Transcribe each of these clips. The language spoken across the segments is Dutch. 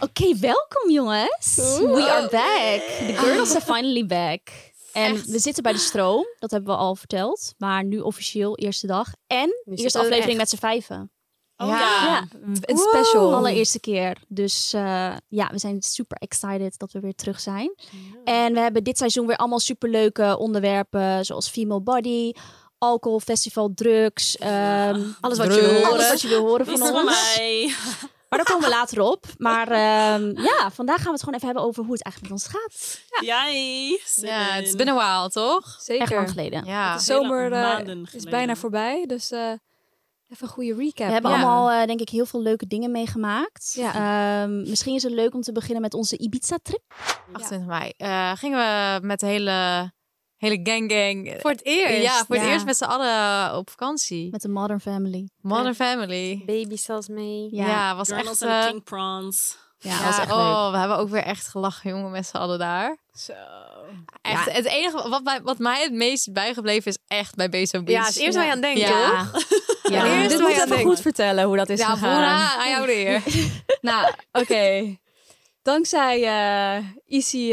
Oké, welkom jongens. We are back. The girls are finally back. En we zitten bij de stroom, dat hebben we al verteld. Maar nu officieel eerste dag. En eerste zitten we aflevering echt. met z'n vijven. Ja. Een special. Allereerste keer. Dus eh, ja, we zijn super excited dat we weer terug zijn. En we hebben dit seizoen weer allemaal superleuke onderwerpen. Zoals female body, alcohol, festival, drugs. ehm, Alles wat je wil horen. Alles wat je wil horen Is van van ons. mij. Maar daar komen we later op. Maar ehm, ja, vandaag gaan we het gewoon even hebben over hoe het eigenlijk met ons gaat. Jij. Ja, het is been a while, toch? Echt lang Zeker. geleden. Ja. De zomer eh, maanden is geleden. bijna voorbij, dus eh, even een goede recap. We hebben Ja. allemaal, eh, denk ik, heel veel leuke dingen meegemaakt. Ehm, misschien is het leuk om te beginnen met onze Ibiza-trip. 28 mei. Eh, gingen we met de hele, hele gang gang. eh, Voor het eerst. Ja, voor het Ja. eerst met z'n allen op vakantie. Met de Modern Family. Modern Family. Baby zelfs mee. Ja, Ja, ja, was Girls and echt... eh, the King Prawns. ja, ja, was echt leuk. oh, we hebben ook weer echt gelachen, jongen, met z'n allen daar. Zo. Echt, het enige wat, mij- wat mij het meest bijgebleven is echt bij Bezo Beach. Ja, het eerste waar je aan denkt, toch? Ja. Ja, Eerst Dit waar moet je aan even denkt. goed vertellen hoe dat is ja gegaan. hoera, aan jou de eer. Nou, oké. Dankzij eh Issy, eh,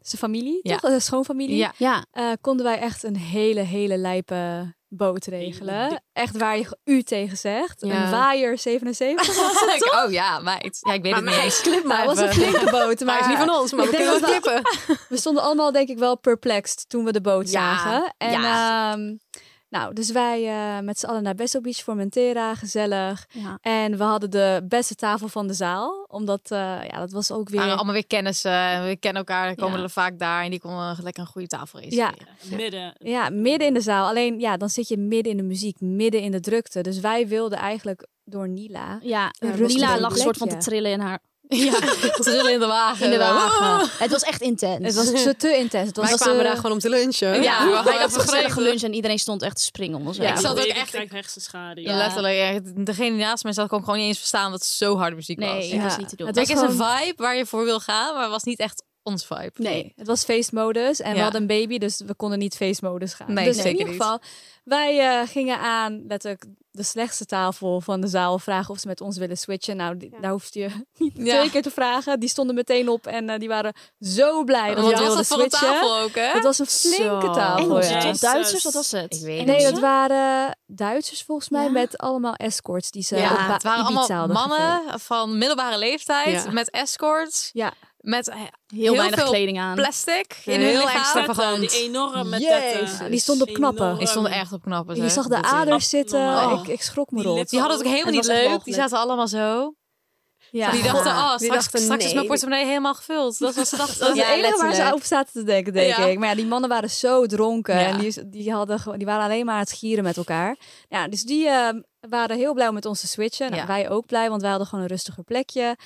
zijn familie, Ja. toch? Eh, schoonfamilie. Ja. Ja, eh, konden wij echt een hele, hele lijpe boot regelen. Echt waar je ge- u tegen zegt. Ja. Een waaier 77. oh ja, meid. Ja, ik weet het niet eens. Clip maar. Het was een flinke boot. Maar Maar hij is niet van ons, maar Ik we denk kunnen wel dat klippen. we stonden allemaal denk ik wel perplexed toen we de boot Ja, zagen. En ja. ehm, nou, dus wij eh, met z'n allen naar Bessel Beach, Formentera, gezellig. ja. En we hadden de beste tafel van de zaal. Omdat, eh, ja, dat was ook weer... waren allemaal weer kennissen. en We kennen elkaar, komen Ja. er vaak daar. En die konden lekker een goede tafel ja, reserveren. Midden. Ja, midden in de zaal. Alleen ja, dan zit je midden in de muziek, midden in de drukte. Dus wij wilden eigenlijk door Nila. ja. Een rustig Lila lag een soort van te plekje. trillen in haar Ja, trillen in de wagen. in de Zo. wagen. het was echt intens. Het was te, te intens. Het was Wij te- kwamen daar gewoon om te lunchen. Ja, ja, we wij hadden hadden even gezellig gegeten. lunch en iedereen stond echt te springen om ons Ja, heen. ik zat ook Lelijk echt- Kijk rechtse schade. Ja. Letterlijk, echt, degene naast mij zat kon ik gewoon niet eens verstaan dat het zo harde muziek was. Nee, Ja. dat was Ja. niet te doen. Het Kijk, was is een gewoon- vibe waar je voor wil gaan, maar was niet echt ons vibe. Nee, het was feestmodus en we Ja. hadden een baby, dus we konden niet feestmodus gaan. Nee, dus zeker in ieder niet. geval, wij eh, gingen aan letterlijk de slechtste tafel van de zaal vragen of ze met ons willen switchen. Nou, die- daar hoefde je niet Ja. twee keer te vragen. Die stonden meteen op en eh, die waren zo blij dat Want we wat was wilden dat voor een switchen. tafel ook, hè? Het was een flinke Zo. tafel. Engels, ja. toch? Jezus. Duitsers, wat was het? Ik weet Nee, Engelsen? dat waren Duitsers volgens mij Ja. met allemaal escorts die ze Ja, eh, op het waren Ibiza allemaal hadden mannen gegeven. van middelbare leeftijd, Ja. met escorts, Ja, met eh, heel, heel weinig veel kleding aan. plastic in hun heel lichaam. extravagant. Die enorme Jezus. tetten. Die stonden op knappen. Enorm. Die stonden echt op knappen. je zeg. zag de Dat is- Oh. aders zitten. abnormaal. Ik, ik schrok me Die rot. lippen- Die hadden het ook helemaal Het niet was echt leuk. Die walgelijk. zaten allemaal zo. Ja. Die dachten, Ja. oh, straks, Die dachten, straks is nee. mijn portemonnee helemaal gevuld. Dat was ze Dat dachten. is Ja, het enige waar letterlijk. ze op zaten te denken, denk Ja. ik. Maar ja, die mannen waren zo dronken. Ja. En die, die, hadden, gewoon- die waren alleen maar aan het gieren met elkaar. Ja, dus die ehm, waren heel blij om met ons te switchen. Nou, Ja. Wij ook blij, want wij hadden gewoon een rustiger plekje.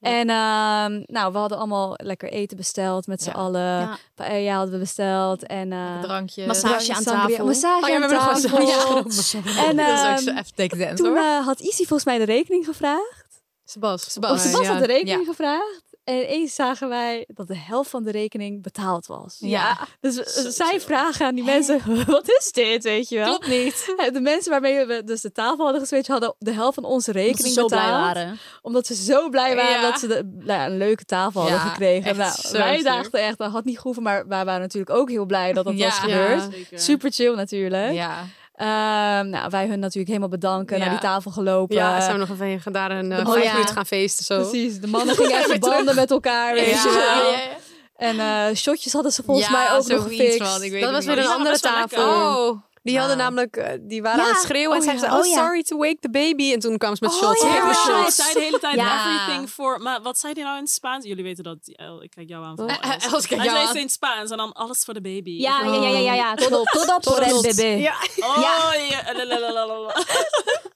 En ehm, nou, we hadden allemaal lekker eten besteld met z'n Ja. allen. Ja. Paella hadden we besteld. En, eh, Drankje. Massage. aan sangria- tafel. Massage Oh ja, we aan hebben nog tafel. massage. Ja. En dat is ook ehm, zo even dekdent toen hoor. eh, had Isi volgens mij de rekening gevraagd. Sebas. Of Sebas. ze was Oh, ja. had de rekening Ja. gevraagd. En ineens zagen wij dat de helft van de rekening betaald was. Ja. Dus we- zij vragen aan die mensen, wat is dit, weet je wel? Klopt niet. De mensen waarmee we dus de tafel hadden geswitcht, hadden de helft van onze Omdat ze rekening zo betaald. blij waren. Omdat ze zo blij waren Ja. dat ze de, nou ja, een leuke tafel Ja, hadden gekregen. echt Nou, zo wij ziek. dachten echt, dat had niet gehoeven. Maar wij waren natuurlijk ook heel blij dat dat Ja. was gebeurd. Zeker. Super chill natuurlijk. Ja. Ehm, nou, wij hun natuurlijk helemaal bedanken. Ja. Naar die tafel gelopen. eh, Ja, zijn we nog even gaan, daar een eh, Oh, vijf ja. minuten gaan feesten. Zo. Precies, de mannen gingen even banden met elkaar, weet je wel. En eh, shotjes hadden ze volgens Ja, mij ook nog zoiets, gefixt. want ik weet Dat het was niet weer een meer. andere best wel tafel. lekker. Oh. Die hadden namelijk, eh, die waren Ja. aan het schreeuwen en Oh, zeiden ja. ze, oh, Oh, ja. sorry to wake the baby. En toen kwamen Oh, ze met shots. ja. Heel veel Ja. Ze shots. zei de hele tijd Ja. everything for... Maar wat zei hij nou in het Spaans? Jullie weten dat. El, ik kijk jou aan. voor Eh, eh, alles. Els, kijk Hij jou zei aan. ze in het Spaans en dan alles voor de baby. Ja, Oh. ja, ja, ja, ja. ja. Tot op, tot op. Voor het bebé. eh, Oh, ja. la, la, la, la, la.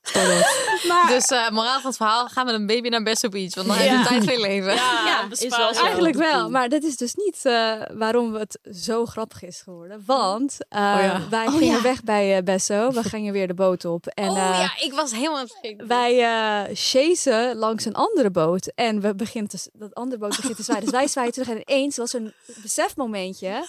spannend. Maar Dus eh, moraal van het verhaal, ga met een baby naar Best Beach. Want dan Ja. heb je tijd voor je leven. Ja, bespaar is wel je zo. Eigenlijk ook de wel, koe. maar dat is dus niet eh, waarom het zo grappig is geworden. Want eh, ja. wij Oh gingen ja. weg bij eh, Besso, we gingen weer de boot op. En oh eh, ja, ik was helemaal aan het vergeten. wij eh chasen langs een andere boot. En we begint te, s- dat andere boot begint te zwaaien. Dus wij zwaaien terug en ineens was er een besefmomentje...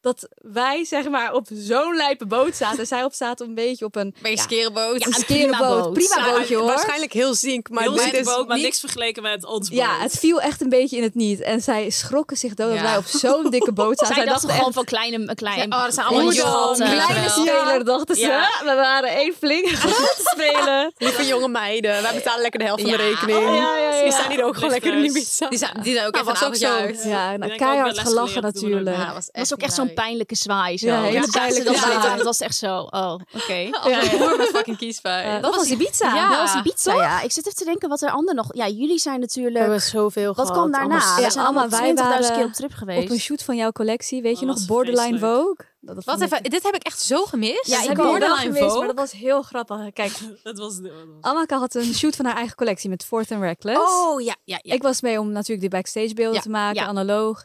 dat wij zeg maar op zo'n lijpe boot zaten. En zij op zaten een beetje op een... Bij een skerenboot. een skerenboot. Prima Nou, bootje hoor. Waarschijnlijk heel ziek, maar Heel dit zieke is boot, maar niet- niks vergeleken met ons boot. Ja, het viel echt een beetje in het niet. En zij schrokken zich dood dat Ja. wij op zo'n dikke boot zaten. Zij dachten dachten gewoon echt, van kleine, klein. Oh, dat zijn allemaal Hoe jongens. dan? kleine speler, dachten ze. Ja. We waren één flink te spelen. Lieve jonge meiden, wij betalen lekker de helft van de Ja. rekening. ja, ja, Die ja. staan hier ook gewoon lekker in Lichters. Ibiza. Die zijn, die zijn ook Nou, even was een ook avondje zo. uit. Ja, nou, denk ook keihard wel les gelachen geleerd, doen we natuurlijk. Ja, was, was echt ook echt zo'n hilarisch. pijnlijke zwaai. Zo. Ja, Ja, hele pijnlijke pijnlijke zwaai. zwaai. Dat was echt zo. Oh, oké. Ja, ja. Voor met fucking kiespijn. Eh, dat was Ibiza. Ja. Dat dat was Ibiza. Ja, ik zit even te denken wat er ander nog... Ja, jullie zijn We natuurlijk... hebben zoveel Wat kwam daarna? Ja, we zijn allemaal allemaal, wij 20.000 waren keer op trip was op een geweest. shoot van jouw collectie, weet je Oh, nog? was Borderline vreselijk. Vogue. Dat- dat Wat vond even, dit heb ik echt zo gemist. Ja, ik ik ook. ben wel borderline geweest, maar vogue. dat was heel grappig. Kijk, Dat was... dat was- Amaka had een shoot van haar eigen collectie met Fourth and Reckless. Oh ja, ja, ja. Ik was mee om natuurlijk die backstage beelden Ja, te maken, ja. analoog.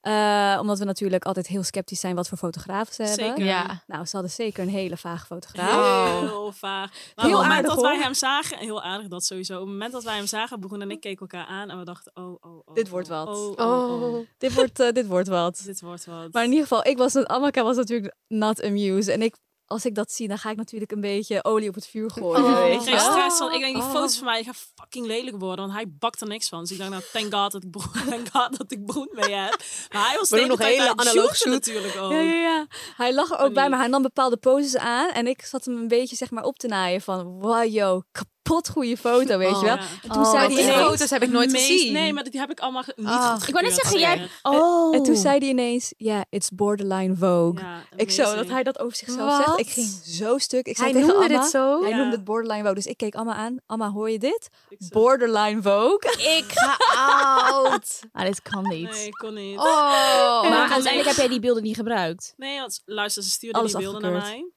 Eh, omdat we natuurlijk altijd heel sceptisch zijn wat voor fotografen ze hebben. Zeker. ja. Nou, ze hadden zeker een hele vage fotograaf. Heel vaag. Heel Maar op het moment aardig, dat wij hoor. hem zagen, heel aardig dat sowieso. Op het moment dat wij hem zagen, Broen en ik keken elkaar aan en we dachten, oh, oh, oh. Dit wordt oh, wat. Oh, oh, oh. Oh. Dit, wordt, eh, dit wordt wat. Dit wordt wat. Maar in ieder geval, ik was, Amaka was natuurlijk not amused. En ik, als ik dat zie, dan ga ik natuurlijk een beetje olie op het vuur gooien. weet je Oh, geen wel. Oh. stress, want ik denk, die foto's van mij gaan fucking lelijk worden, want hij bakt er niks van. Dus ik dacht, nou, thank god dat ik Broen, thank god dat ik Broen mee heb. Maar hij was de We doen hele nog tijd hele aan het analoog shooten shoot. natuurlijk ook. Ja, ja, ja. Hij lag er ook Funny. bij, maar hij nam bepaalde poses aan. En ik zat hem een beetje zeg maar, op te naaien van... Wow, yo, kapot goede foto, weet je wel. Ja. Oh. En toen zei Maar hij die ineens- foto's heb ik nooit Meest- gezien. Nee, maar die heb ik allemaal ge- niet Ah. goed Ik wou net zeggen, jij... gekeurd. Oh. En toen zei hij ineens, ja, it's borderline vogue. Ja, Ik zo, dat amazing. hij dat over zichzelf Wat? zegt. Ik ging zo stuk. Ik zei Hij tegen noemde Amma, dit zo? Hij Ja. noemde het borderline vogue. Dus ik keek Amma aan. Amma, hoor je dit? Ik zo- Borderline vogue. Ik ga oud. Ah, dit kan niet. Nee, ik kon niet. Oh. Maar Maar uiteindelijk heb jij die beelden niet gebruikt. Nee, want luister, ze stuurde Alles die beelden naar afgekeurd. mij.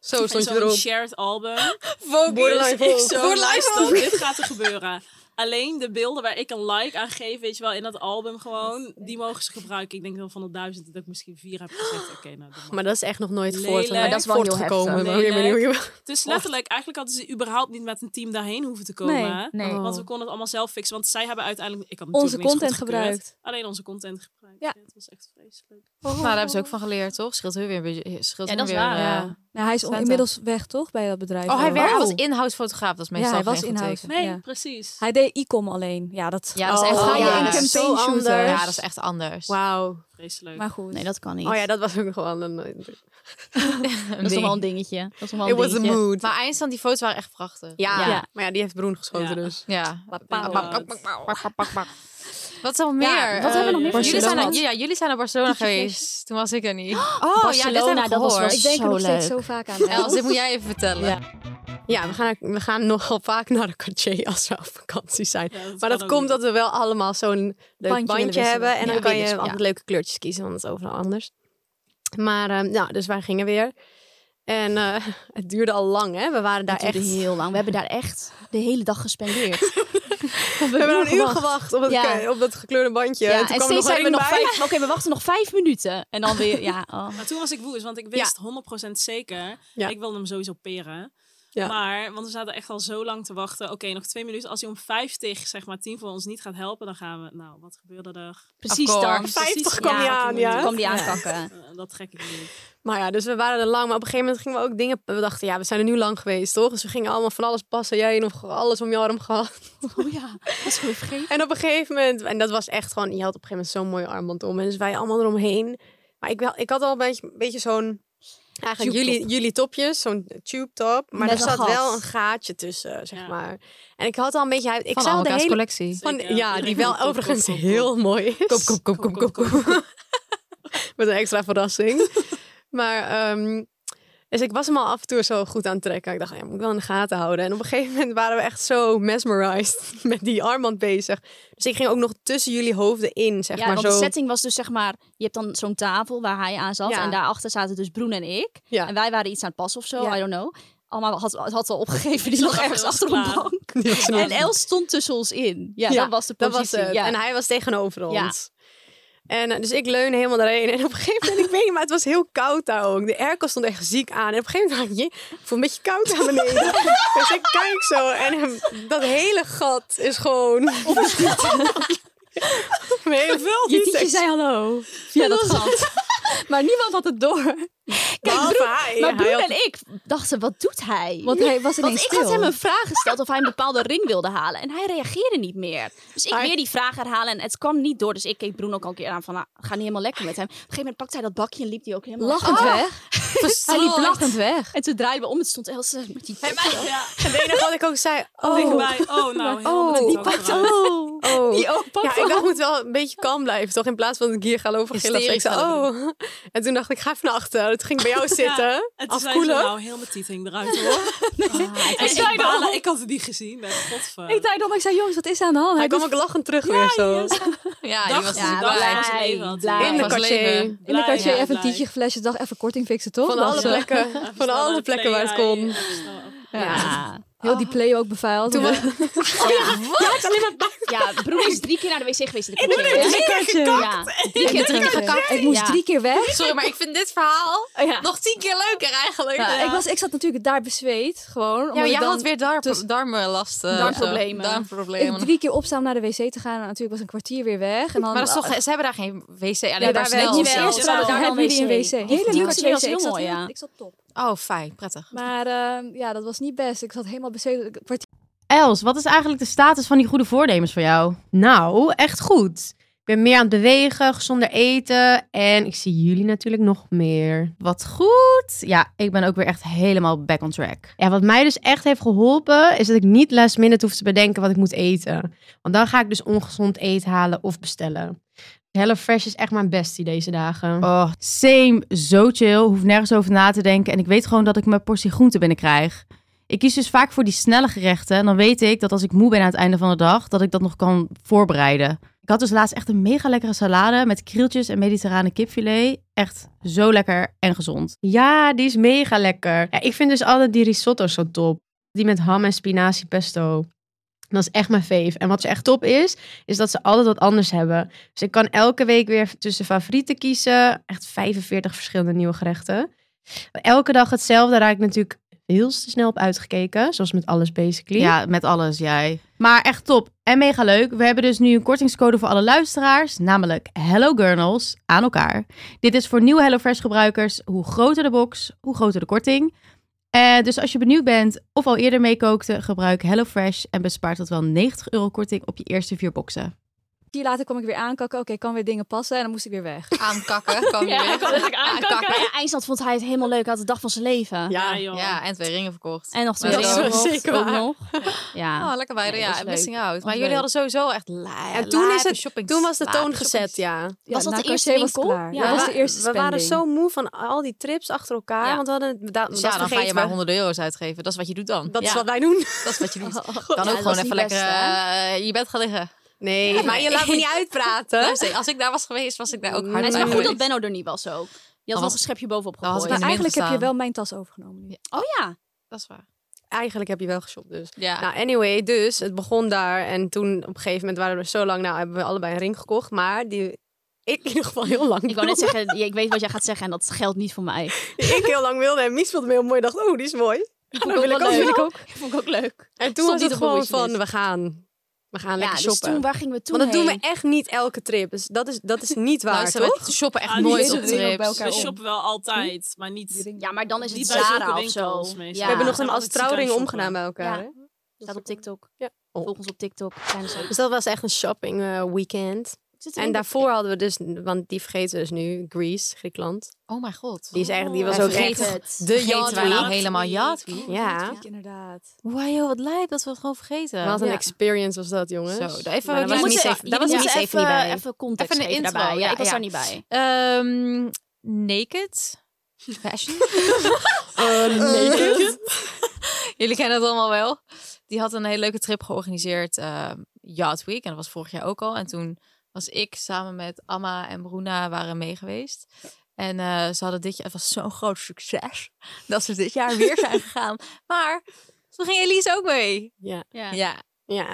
Zo En stond je zo'n erop. shared album. Borderline Dus ik Vogue. zo, Borderline luister, Vogue. dit gaat er gebeuren. Alleen de beelden waar ik een like aan geef, weet je wel, in dat album gewoon, die mogen ze gebruiken. Ik denk wel van de duizend dat ik misschien vier heb gezegd. Oké, nou, doe maar. Maar dat is echt nog nooit Lelijk. voort, Maar dat is wel heel voortgekomen. heftig. Maar ik weet niet hoe je- Dus letterlijk, eigenlijk hadden ze überhaupt niet met een team daarheen hoeven te komen. Nee, nee. Oh. Want we konden het allemaal zelf fixen. Want zij hebben uiteindelijk... Ik had Onze natuurlijk niks content goedgekeurd. gebruikt. Alleen onze content gebruikt. Ja. Ja. Het was echt vreselijk. Nou, daar hebben ze ook van geleerd, toch? Scheelt hun weer een beetje. Scheelt Ja, hun dat is weer, waar, eh, ja. Nou, hij is on- Centen. inmiddels weg, toch? Bij dat bedrijf. Oh, hij wel. werkt als in-house fotograaf. Dat is meestal Ja, hij was geen goed in-house. teken. Nee, Ja. precies. Hij deed e-com alleen. Ja, dat... Ja, dat is echt Oh, anders. ja, ja, een dat is zo campaign shooter. anders. Ja, dat is echt anders. Wauw. Vreselijk. Maar goed. Nee, dat kan niet. Oh ja, dat was ook gewoon een... dat is toch wel een dingetje. Dat is toch wel een It was the dingetje. mood. Maar eindstand, die foto's waren echt prachtig. Ja, Ja. maar ja, die heeft Broen geschoten Ja. dus. Ja. Bepaald. Bepaald. Wat is er nog meer? Ja, Eh, wat hebben we nog meer? jullie, Barcelona. zijn naar, ja, jullie zijn naar Barcelona geweest. Toen was ik er niet. Oh, ja, dit heb ik dat was wel gehoord. Ik denk er zo nog steeds leuk. zo vaak aan. Els, dit moet jij even vertellen. Ja. Ja, we gaan, we gaan nogal vaak naar de Cartier als we op vakantie zijn. Ja, dat maar kan dat ook komt niet. dat we wel allemaal zo'n leuk Bandje bandje, willen hebben. En wisselen. dan Ja, kan je wisselen, altijd leuke kleurtjes kiezen, want het is overal anders. Maar ehm, nou, dus wij gingen weer. En eh, het duurde al lang, hè. We waren daar Dat duurde echt... heel lang. We hebben daar echt de hele dag gespendeerd. We hebben een uur gewacht. gewacht op, het, Ja. ke- op dat gekleurde bandje. Ja, en en toen kwam er steeds nog een zeiden we ring nog bij. vijf. Oké, we wachten nog vijf minuten. En dan weer, ja. oh. Maar toen was ik woest, want ik wist 100% zeker, Ja. ik wilde hem sowieso peren. Ja. Maar, want we zaten echt al zo lang te wachten. Oké, nog twee minuten. Als hij om 50, zeg maar, 10 voor ons niet gaat helpen, dan gaan we. Nou, wat gebeurde er? Precies course. dan. 50 kwam Ja, je aan, ja. Toen kwam die aankakken. Eh, dat trek ik niet. Maar ja, dus we waren er lang. Maar op een gegeven moment gingen we ook dingen... We dachten, ja, we zijn er nu lang geweest, toch? Dus we gingen allemaal van alles passen. Jij nog alles om je arm gehad. Oh ja, dat is gewoon vergeten. En op een gegeven moment, en dat was echt gewoon, je had op een gegeven moment zo'n mooie armband om. En dus wij allemaal eromheen. Maar ik, wel, ik had al een beetje, een beetje zo'n, eigenlijk Tube jullie, jullie topjes, zo'n tube top. Maar Met er een zat gat. wel een gaatje tussen, zeg Ja. maar. En ik had al een beetje, hij- ik Van zou de Amaka's hele... collectie. Van, Zeker. ja, die Iedereen wel van de top, overigens top, top, top. heel mooi is. Kom, kom, kom, kom, kom, kom. Met een extra verrassing. maar, ehm, dus ik was hem al af en toe zo goed aan het trekken. Ik dacht, ja, moet ik wel in de gaten houden. En op een gegeven moment waren we echt zo mesmerized met die armband bezig. Dus ik ging ook nog tussen jullie hoofden in, zeg Ja, maar want zo. de setting was dus zeg maar... Je hebt dan zo'n tafel waar hij aan zat. Ja. En daarachter zaten dus Broen en ik. Ja. En wij waren iets aan het passen of zo. Ja. I don't know. Alma had, had ze al opgegeven, die Ze lag lag ergens heel achter een klaar. bank. Die was En Els stond tussen ons in. Ja, Ja, dat was de Dat positie. was het. Ja. En hij was tegenover ons. Ja. En eh, dus ik leun helemaal daarheen. En op een gegeven moment, ik weet niet, maar het was heel koud daar ook. De airco stond echt ziek aan. En op een gegeven moment dacht ik, "Jee, ik voel een beetje koud naar beneden. dus ik kijk zo en hem- dat hele gat is gewoon... Mijn hele Je tietje zei hallo. eh, Ja, dat gat. maar niemand had het door. Kijk, Behalve broer, hij. maar Hij broer en had- ik dachten, wat doet hij? Want hij was Want ineens ik stil. had hem een vraag gesteld of hij een bepaalde ring wilde halen. En hij reageerde niet meer. Dus ik Hij- weer die vraag herhalen en het kwam niet door. Dus ik keek Bruno ook al een keer aan van, nou, ga niet helemaal lekker met hem. Op een gegeven moment pakte hij dat bakje en liep hij ook helemaal... Lachend Ah. weg. Hij liep lachend weg. En toen draaiden we om en stond Elsa met die... Ja, Het enige wat ik ook zei, oh, tegen mij. Oh, nou, heel Oh, oh, die Oh. oh. Die ook pak Ja, ik dacht, ik moet wel een beetje kalm blijven, toch? In plaats van dat ik hier ga lopen gillen. Ik zei, oh. En toen dacht ik, ga even naar achter. Het ging ik bij jou zitten. Het is afkoelen. nou heel mijn tiet hing eruit hoor. En ik, zei balen, nog- ik had het niet gezien. Nee, godver. Ik dacht nog, ik zei, jongens, wat is er aan de hand? Hij Hij kwam doet- ook lachend terug weer zo. Ja, die Dag, was ja, ja, dag, blij, was een leven had. blij. In de was cartier. leven. in de blij, kastje ja, even een blij. tietje geflasht. Ik dacht, even korting fixen, toch? Van Dacht alle ze. plekken. Van alle plekken waar het kon. Ja. Heel die play ook bevuild. Toen was- Ja, Bruno is drie keer naar de wc geweest. In de kotje, hè? drie keer Ja, drie keer, drie keer gekakt. Ik moest Ja. drie keer weg. Sorry, maar ik vind dit verhaal Oh Ja. nog tien keer leuker eigenlijk. Ja, Ik, was, ik zat natuurlijk daar bezweet. Gewoon. Ja, omdat maar ik jij dan dus- had weer darm, darmenlasten. Darmproblemen. Zo, eh, Darmproblemen. drie keer opstaan om naar de wc te gaan. En natuurlijk was een kwartier weer weg. En dan, Maar dat is toch, ze hebben daar geen wc. Alleen Ja, daar daar snel. werd niet zelf. eerst Jawel, daar daar hebben wel jullie een wc. wc. Die Hele leuke kwartier was wc. Ik heel zat mooi, heel- ja. Ik zat top. Oh, fijn, prettig. Maar eh, ja, dat was niet best. Ik zat helemaal bezweet. Een kwartier Els, wat is eigenlijk de status van die goede voornemens voor jou? Nou, echt goed. Ik ben meer aan het bewegen, gezonder eten. En ik zie jullie natuurlijk nog meer. Wat goed. Ja, ik ben ook weer echt helemaal back on track. Ja, wat mij dus echt heeft geholpen, is dat ik niet last minute hoef te bedenken wat ik moet eten. Want dan ga ik dus ongezond eten halen of bestellen. HelloFresh is echt mijn bestie deze dagen. Oh, same. Zo chill. Hoef nergens over na te denken. En ik weet gewoon dat ik mijn portie groente binnenkrijg. Ik kies dus vaak voor die snelle gerechten. En dan weet ik dat als ik moe ben aan het einde van de dag, dat ik dat nog kan voorbereiden. Ik had dus laatst echt een mega lekkere salade met krieltjes en mediterrane kipfilet. Echt zo lekker en gezond. Ja, die is mega lekker. Ja, ik vind dus altijd die risotto zo top. Die met ham en spinazie pesto. Dat is echt mijn fave. En wat ze echt top is, is dat ze altijd wat anders hebben. Dus ik kan elke week weer tussen favorieten kiezen. Echt 45 verschillende nieuwe gerechten. Elke dag hetzelfde raak ik natuurlijk heel te snel op uitgekeken. Zoals met alles basically. Ja, met alles, jij. Maar echt top en mega leuk. We hebben dus nu een kortingscode voor alle luisteraars, namelijk Hello Gurnals aan elkaar. Dit is voor nieuwe HelloFresh gebruikers. Hoe groter de box, hoe groter de korting. Eh, dus als je benieuwd bent of al eerder meekookte, gebruik HelloFresh en bespaart tot wel 90 euro korting op je eerste vier boxen. later kwam ik weer aankakken. Oké, ik kan weer dingen passen. En dan moest ik weer weg. Aankakken. Kan Ja, weer. ik kan het ook aankakken. Ja, eindstand vond hij het helemaal leuk. Hij had de dag van zijn leven. Ja, Ja, joh. Ja, en twee ringen verkocht. En nog twee Dat is euro wel nog, zeker ook waar. nog. Ja. Oh, lekker beide, Nee, ja. dat is leuk. Missing out. Maar is jullie leuk. hadden sowieso echt la- En toen, is lijpe het, shoppings- toen was de lijpe toon shoppings. gezet, ja. Ja, Was dat na de eerste Cartier was het winkel? klaar. Ja, Ja, dat was we- de eerste We waren spending. zo moe van al die trips achter elkaar. Ja. Want we hadden... Da, dat Dus ja, dan ga je vergeten maar we. 100 euro's uitgeven. Dat is wat je doet dan. Dat is Ja, wat wij doen. dat is wat je doet. Dan Ja, ook dat gewoon is even niet lekker best, hè? eh, in je bed gaan liggen. Nee, maar je laat me niet uitpraten. Luister, als ik daar was geweest, was ik daar ook hard Het is bij maar goed dat geweest. Benno er niet was ook. Je had was- nog een schepje bovenop Dan had gegooid. ik Maar in de eigenlijk winkel heb je staan. wel mijn tas overgenomen. nu. Oh ja. Dat is waar. Eigenlijk heb je wel geshopt dus. Ja. Nou, anyway, dus het begon daar. En toen op een gegeven moment waren we er zo lang. Nou, hebben we allebei een ring gekocht. Maar die ik in ieder geval heel lang Ik wou net zeggen, ik weet wat jij gaat zeggen en dat geldt niet voor mij. die ik heel lang wilde. En Mies vond hem heel mooi. dacht, oh, die is mooi. Vond wil ik ook, wil ik Vond ik ook leuk. En toen Stond was niet het op mijn gewoon van, wishlist. we gaan. We gaan Ja, lekker dus shoppen. toen, waar gingen we toen Want dat doen we heen? echt niet elke trip. Dus dat is, dat Nou, is niet waar, Luister, toch? we dus- shoppen echt Ah, die nooit is op het ding ook bij trips. elkaar. We om. shoppen wel altijd, maar niet... Ja, maar dan is het Niet bij zulke Zara of zo. winkels meestal. Ja. We hebben nog Ja, hem als want het is trouwring shoppen. omgedaan bij elkaar. Ja. hè? Staat op TikTok. Ja. Oh. Volg ons op Tiktok. Zijn ze ook. Dus dat was echt een shopping eh, weekend. En daarvoor hadden we dus, want die vergeten we dus nu, Greece, Griekenland. Oh mijn god. Die is echt, die Hij was ook vergeet echt het. de Vergeten yacht wij nou week. helemaal Yacht Week? Ja. Ik Inderdaad. Wauw, joh, wat lijp dat we het gewoon vergeten. Wat een Ja. experience was dat, jongens. Zo, daar even, die Maar dat was moeten- niet safe. jullie daar was moeten niet safe niet bij. Even context Even een geven intro, daarbij. Ja, ja, ik was ja. daar niet bij. Ehm, naked. Fashion. Oh, Eh, naked? Jullie kennen het allemaal wel. Die had een hele leuke trip georganiseerd. ehm Yacht Week. En dat was vorig jaar ook al. En toen was ik samen met Amma en Bruna waren mee geweest. En eh, ze hadden dit jaar, het was zo'n groot succes, dat ze dit jaar weer zijn gegaan. Maar toen ging Elise ook mee. Ja. Ja. Ja.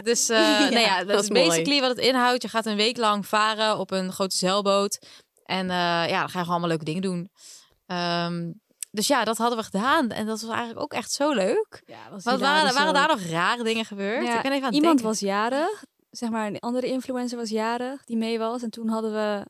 Dus eh, nou ja, dat, is basically wat het inhoudt. Je gaat een week lang varen op een grote zeilboot. En eh, ja, dan ga je gewoon allemaal leuke dingen doen. Ehm, dus ja, dat hadden we gedaan. En dat was eigenlijk ook echt zo leuk. Ja, Wat waren, waren daar dus nog rare dingen gebeurd? Ja, ik ben even aan het iemand denken. was jarig. Zeg maar, een andere influencer was jarig die mee was. En toen hadden we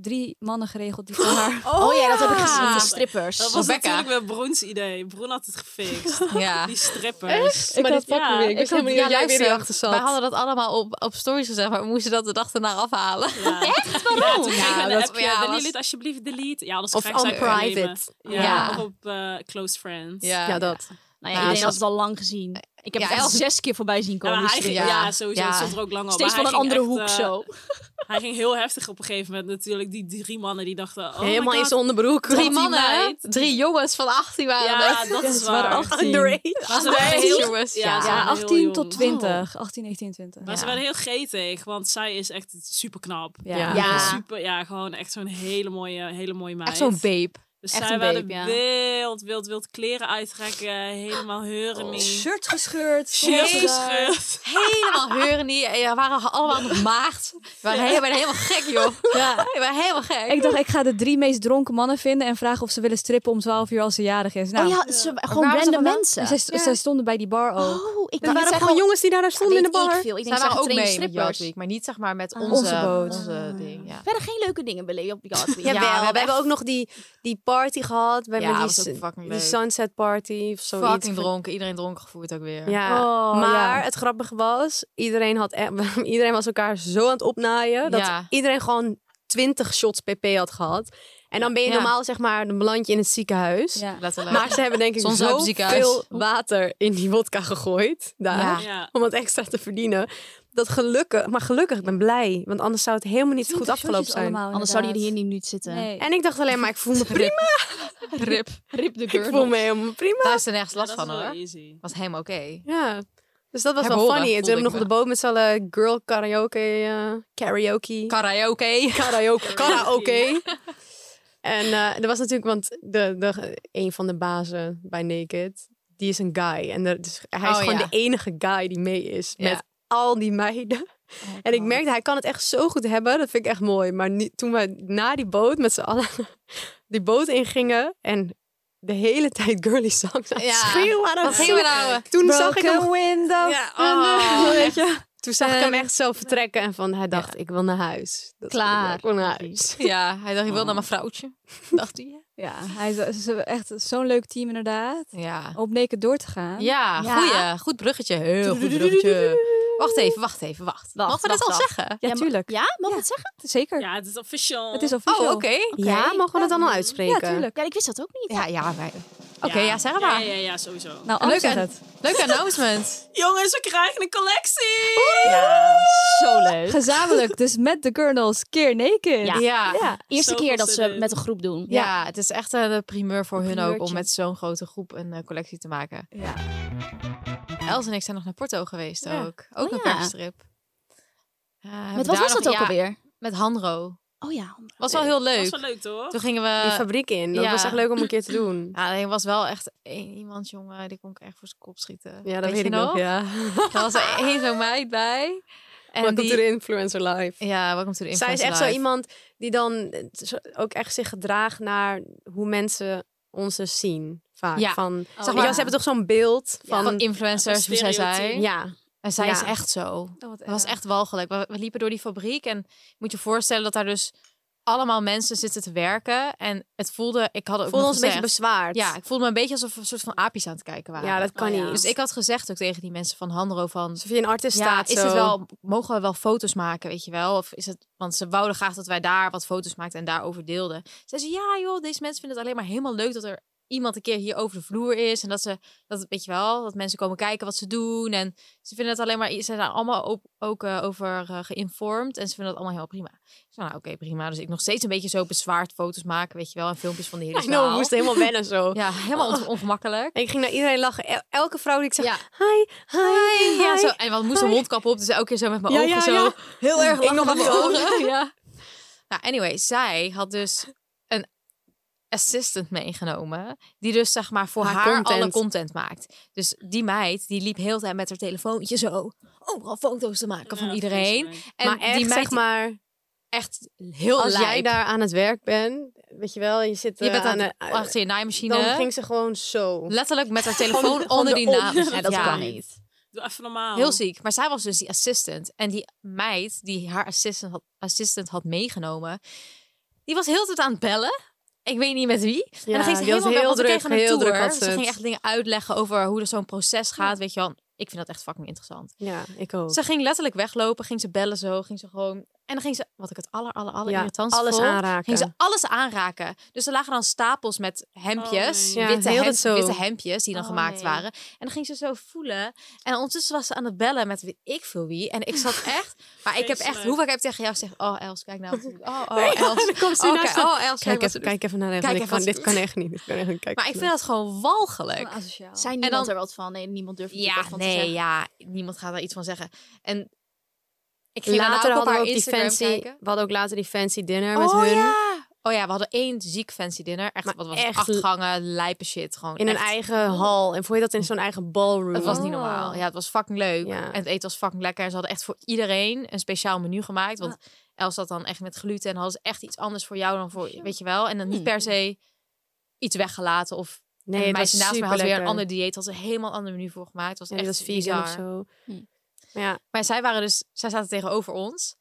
drie mannen geregeld die voor haar. Oh ja, dat heb ik ja. gezien. De strippers. Dat was Rebecca. natuurlijk wel Broens idee. Broen had het gefixt. Ja. Die dus- strippers. Ik had het pak weer. Ik wist helemaal niet dat jij weer luister, hierachter zat. Wij hadden dat allemaal op, op stories gezegd, maar we moesten dat de dag erna afhalen. Echt? Waarom? Ja, toen Ja, ging ik dat- een appje. ja, Willen was- jullie het alsjeblieft delete? Ja, anders Of ga ik ze on uit elkaar private. nemen. Ja. Ja. Of op eh, close friends. Ja, Ja, dat. Nou Ja, ja, iedereen zo- had het al lang gezien. Ik heb Ja, het echt Els- zes keer voorbij zien Ja, komen. maar die hij ging, strip. ja, Ja. sowieso. Ja. Het stond er ook lang op. Steeds maar van een hij andere ging hoek echt, eh, zo. Hij ging heel heftig op een gegeven moment natuurlijk. Die drie mannen die dachten... Oh Helemaal my in God. zijn onderbroek. Drie die mannen, hè? meid. drie jongens van 18 waren Ja, dat. dat is waren waar. acht- 18. Maar ze Nee. waren heel- Jongens, ja. Ja, ze waren heel 18 jong. tot 20. 18, 19, 20. Maar ze waren heel gretig, want zij is echt super knap. Ja. Ja. Ja. Super, ja, gewoon echt zo'n hele mooie, hele mooie meid. Echt zo'n babe. Dus echt zij een waren babe, ja. wild, wild, wild kleren uittrekken. Helemaal Oh, heuren mee. Shirt gescheurd. stonden ze Jezus. daar. Helemaal heuren niet. En ja, waren allemaal nog maagd. We waren, he- we waren helemaal gek, joh. Ja. We waren helemaal gek. Ik dacht, ik ga de drie meest dronken mannen vinden en vragen of ze willen strippen om 12 uur als ze jarig is. Nou, oh ja, ze- gewoon Waar was random dat vandaan? mensen. en zij, st- zij stonden bij die bar ook. Oh, ik Er dacht- waren zij gewoon jongens die daar stonden in de weet bar. Ik veel. Ik denk, Zij ze waren ook getrainde mee met strippers. Yacht Week, maar niet zeg maar met Ah. onze, Onze boot. onze ding. Ja. Verder geen leuke dingen beleven op Yacht Week. Ja, Ja, we we hebben hebben ook nog die, die party gehad. Bij Ja, met die, was ook sun- fucking die leuk. sunset party of zoiets. Fucking dronken. Iedereen dronken gevoerd ook weer. Ja. Oh, maar ja. het grappige was, iedereen, had, echt- iedereen was elkaar zo aan het opnaaien. Dat Ja. iedereen gewoon 20 shots pp had gehad. En dan ben je Ja. normaal, zeg maar, een belandje in het ziekenhuis. Ja. Letterlijk. Maar ze hebben denk ik Soms uit zo het ziekenhuis. veel water in die wodka gegooid. Daar. Ja. Ja. Om wat extra te verdienen. Dat gelukkig, maar gelukkig, ik ben blij. Want anders zou het helemaal niet goed afgelopen zijn. Anders zouden jullie hier niet nu zitten. Nee. eh, En ik dacht alleen maar, ik voel me prima. Rip. Rip de Ik voel me helemaal prima. Daar is er nergens last dat is van, wel hoor. easy. Was helemaal oké. Ja. Dus dat was Heb wel horen, funny. En voelde toen hebben we nog ik op de boot met z'n allen girl karaoke. eh, karaoke. Karaoke. karaoke. Karaoke. en eh, er was natuurlijk, want de, de, een van de bazen bij Naked, die is een guy. En er, dus hij is Oh, gewoon ja. de enige guy die mee is Ja. Oh, met al die meiden. en ik merkte, hij kan het echt zo goed hebben. Dat vind ik echt mooi. Maar niet, toen we na die boot met z'n allen die boot ingingen en de hele tijd girly songs aan het Ja. schreeuwen waren. Wat gingen we nou? Toen zag ik hem window. Ja, oh. weet je. Toen zag ik hem echt zo vertrekken en van hij dacht, ik wil naar huis. Dat is Klaar. goed, Ik wil naar huis. Ja, hij dacht, ik wil naar mijn vrouwtje. Dacht hij. Ja, hij is, ze hebben echt zo'n leuk team inderdaad. Ja. Om naked door te gaan. Ja, Ja. goeie. Goed bruggetje. Heel goed bruggetje. Wacht even, wacht even, wacht. Wacht, Mogen we dit wacht, al wacht. zeggen? Ja, maar- tuurlijk. Ja, mag ik het zeggen? Zeker. Ja, het is official. Het is Oh, officieel. oké. Ja, mogen we dat dan al uitspreken? Ja, tuurlijk. Ja, ik wist dat ook niet. Ja, ja, wij... Oké, ja. zeg Ja, maar. ja, ja, sowieso. Nou, Leuk, anders zeg hè? het. Leuk announcement. Jongens, we krijgen een collectie! Zo leuk. Gezamenlijk, dus met de Gurnals, keer naked. Ja. Ja. ja. Eerste Zoveel keer dat ze zin in. met een groep doen. het is echt een primeur voor hun ook om primeurtje. met zo'n grote groep een eh, collectie te maken. Ja. Els en ik zijn nog naar Porto geweest ook. Ook Oh, een ja. persstrip. Eh, hebben Met wat daar was nog- dat ook ja, alweer? Met Hanro. Oh ja. Was wel heel Dat is leuk. wel leuk, toch? Toen gingen Die we... fabriek in. Dat Eh, ja. was echt leuk om een keer te doen. Ja, er was wel echt één iemand, jongen, die kon ik echt voor zijn kop schieten. Ja, dat je weet ik nog. Ja. Daar was er één zo'n meid bij. En Welkom die... to the influencer life. Ja, welkom to the Zij is Influencer echt zo Life. iemand die dan eh, zo- ook echt zich gedraagt naar hoe mensen ons dus zien. Vaak. Ja. Van, Zeg Weet je maar- wel, ze hebben toch zo'n beeld van... Van, influencers, Van hoe zij stereotypen. zei. ja. En zij Ja. is echt zo. Oh, wat Dat was erg. echt walgelijk. We, we liepen door die fabriek en je moet je voorstellen dat daar dus allemaal mensen zitten te werken. En het voelde, ik had ook Voelde nog ons een beetje gezegd- bezwaard. Ja, ik voelde me een beetje alsof we een soort van aapjes aan het kijken waren. ja dat kan Oh, ja. niet. Dus ik had gezegd ook tegen die mensen van Handro van... Alsof je een artist Ja, staat is zo. het wel, mogen we wel foto's maken, weet je wel? Of is het, want ze wouden graag dat wij daar wat foto's maakten en daarover deelden. Ze zei, ja joh, deze mensen vinden het alleen maar helemaal leuk dat er iemand een keer hier over de vloer is. En dat ze, dat, weet je wel, dat mensen komen kijken wat ze doen. En ze vinden het alleen maar, ze zijn daar allemaal ook, ook eh, over eh, geïnformeerd. En ze vinden dat allemaal heel prima. Ik zei, nou oké, prima. Dus ik nog steeds een beetje zo bezwaard foto's maken, weet je wel. En filmpjes van de hele I know, we zaal. moesten helemaal wennen zo. Ja, helemaal on- ongemakkelijk. En ik ging naar iedereen lachen. El- elke vrouw die ik zag, Ja. hi, hi, hi. Ja, zo, en want moest een mondkap op, dus elke keer zo met mijn ogen zo. Heel erg Ik nog lachen met met mijn ogen. ja. Nou, anyway, zij had dus een assistant meegenomen. Die dus zeg maar voor Haar haar, content. alle content maakt. Dus die meid die liep heel de tijd met haar telefoontje zo. Overal foto's te maken van Ja, iedereen. vreselijk. En maar echt, die meid zeg maar, echt heel als jij lijp. daar aan het werk bent, weet je wel, je zit Je eh, bent aan de, eh, achter je naaimachine. Dan ging ze gewoon zo. Letterlijk met haar Gewoon- telefoon gewoon onder die erop. naam. Ja, dat kan niet. Doe even normaal. Oh. Heel ziek. Maar zij was dus die assistant. En die meid die haar assistant had, assistant had meegenomen, die was heel de tijd aan het bellen. Ik weet niet met wie. Ja, en dan ging ze die helemaal was weg, heel want we druk, kregen een heel tour. druk had ze ze ging het. echt dingen uitleggen over hoe er zo'n proces gaat. Weet je wel, ik vind dat echt fucking interessant. Ja, ik ook. Ze ging letterlijk weglopen, ging ze bellen zo, ging ze gewoon... En dan ging ze, wat ik het aller, aller, aller Ja, irritantste alles vond, aanraken. Ging ze alles aanraken. Dus er lagen dan stapels met hempjes, Oh, nee. Ja, witte, heel dat hemp- zo. witte hempjes die dan Oh, gemaakt nee. waren. En dan ging ze zo voelen. En ondertussen was ze aan het bellen met weet ik veel wie. En ik zat echt... Maar ik heb echt... Vreselijk. Hoe vaak heb ik tegen jou gezegd... Oh, Els, kijk nou. wat ze doet. Oh, oh, Els. Dan komt ze Oh, naast kijk, haar. oh, Els, kijk wat Kijk ze even, doet. kijk even naar hem. Kijk want ik even kan- wat Dit ze kan doet. echt niet. Dit kan echt niet. Kijk Maar ik even vind dat gewoon walgelijk. asociaal. Zijn En niemand dan- er wat van? Nee, niemand durft er Oh, Ja, wat van te nee, zeggen. ja. Niemand gaat daar iets van zeggen. En ik ging daarna Later ook op hadden we haar ook die Instagram fancy... kijken. We hadden ook later die fancy dinner met oh, hun. Ja. Oh ja, we hadden één ziek fancy dinner. Echt, Maar wat was echt het? Acht gangen, lijpe shit. Gewoon In een echt. eigen hal. En vond je dat in zo'n eigen ballroom? Het was niet normaal. Ja, het was fucking leuk. Oh. Ja. En het eten was fucking lekker. En ze hadden echt voor iedereen een speciaal menu gemaakt. Want Ah. Els had dan echt met gluten. En hadden ze echt iets anders voor jou dan voor, weet je wel. En dan niet per se iets weggelaten. Of Hmm. Nee, een het meisje was naast me had weer een superlekker. ander dieet. Had ze een helemaal ander menu voor gemaakt. Het was Ja, echt die was vegan of bizar. zo. Maar ja, Maar zij waren dus, zij zaten tegenover ons.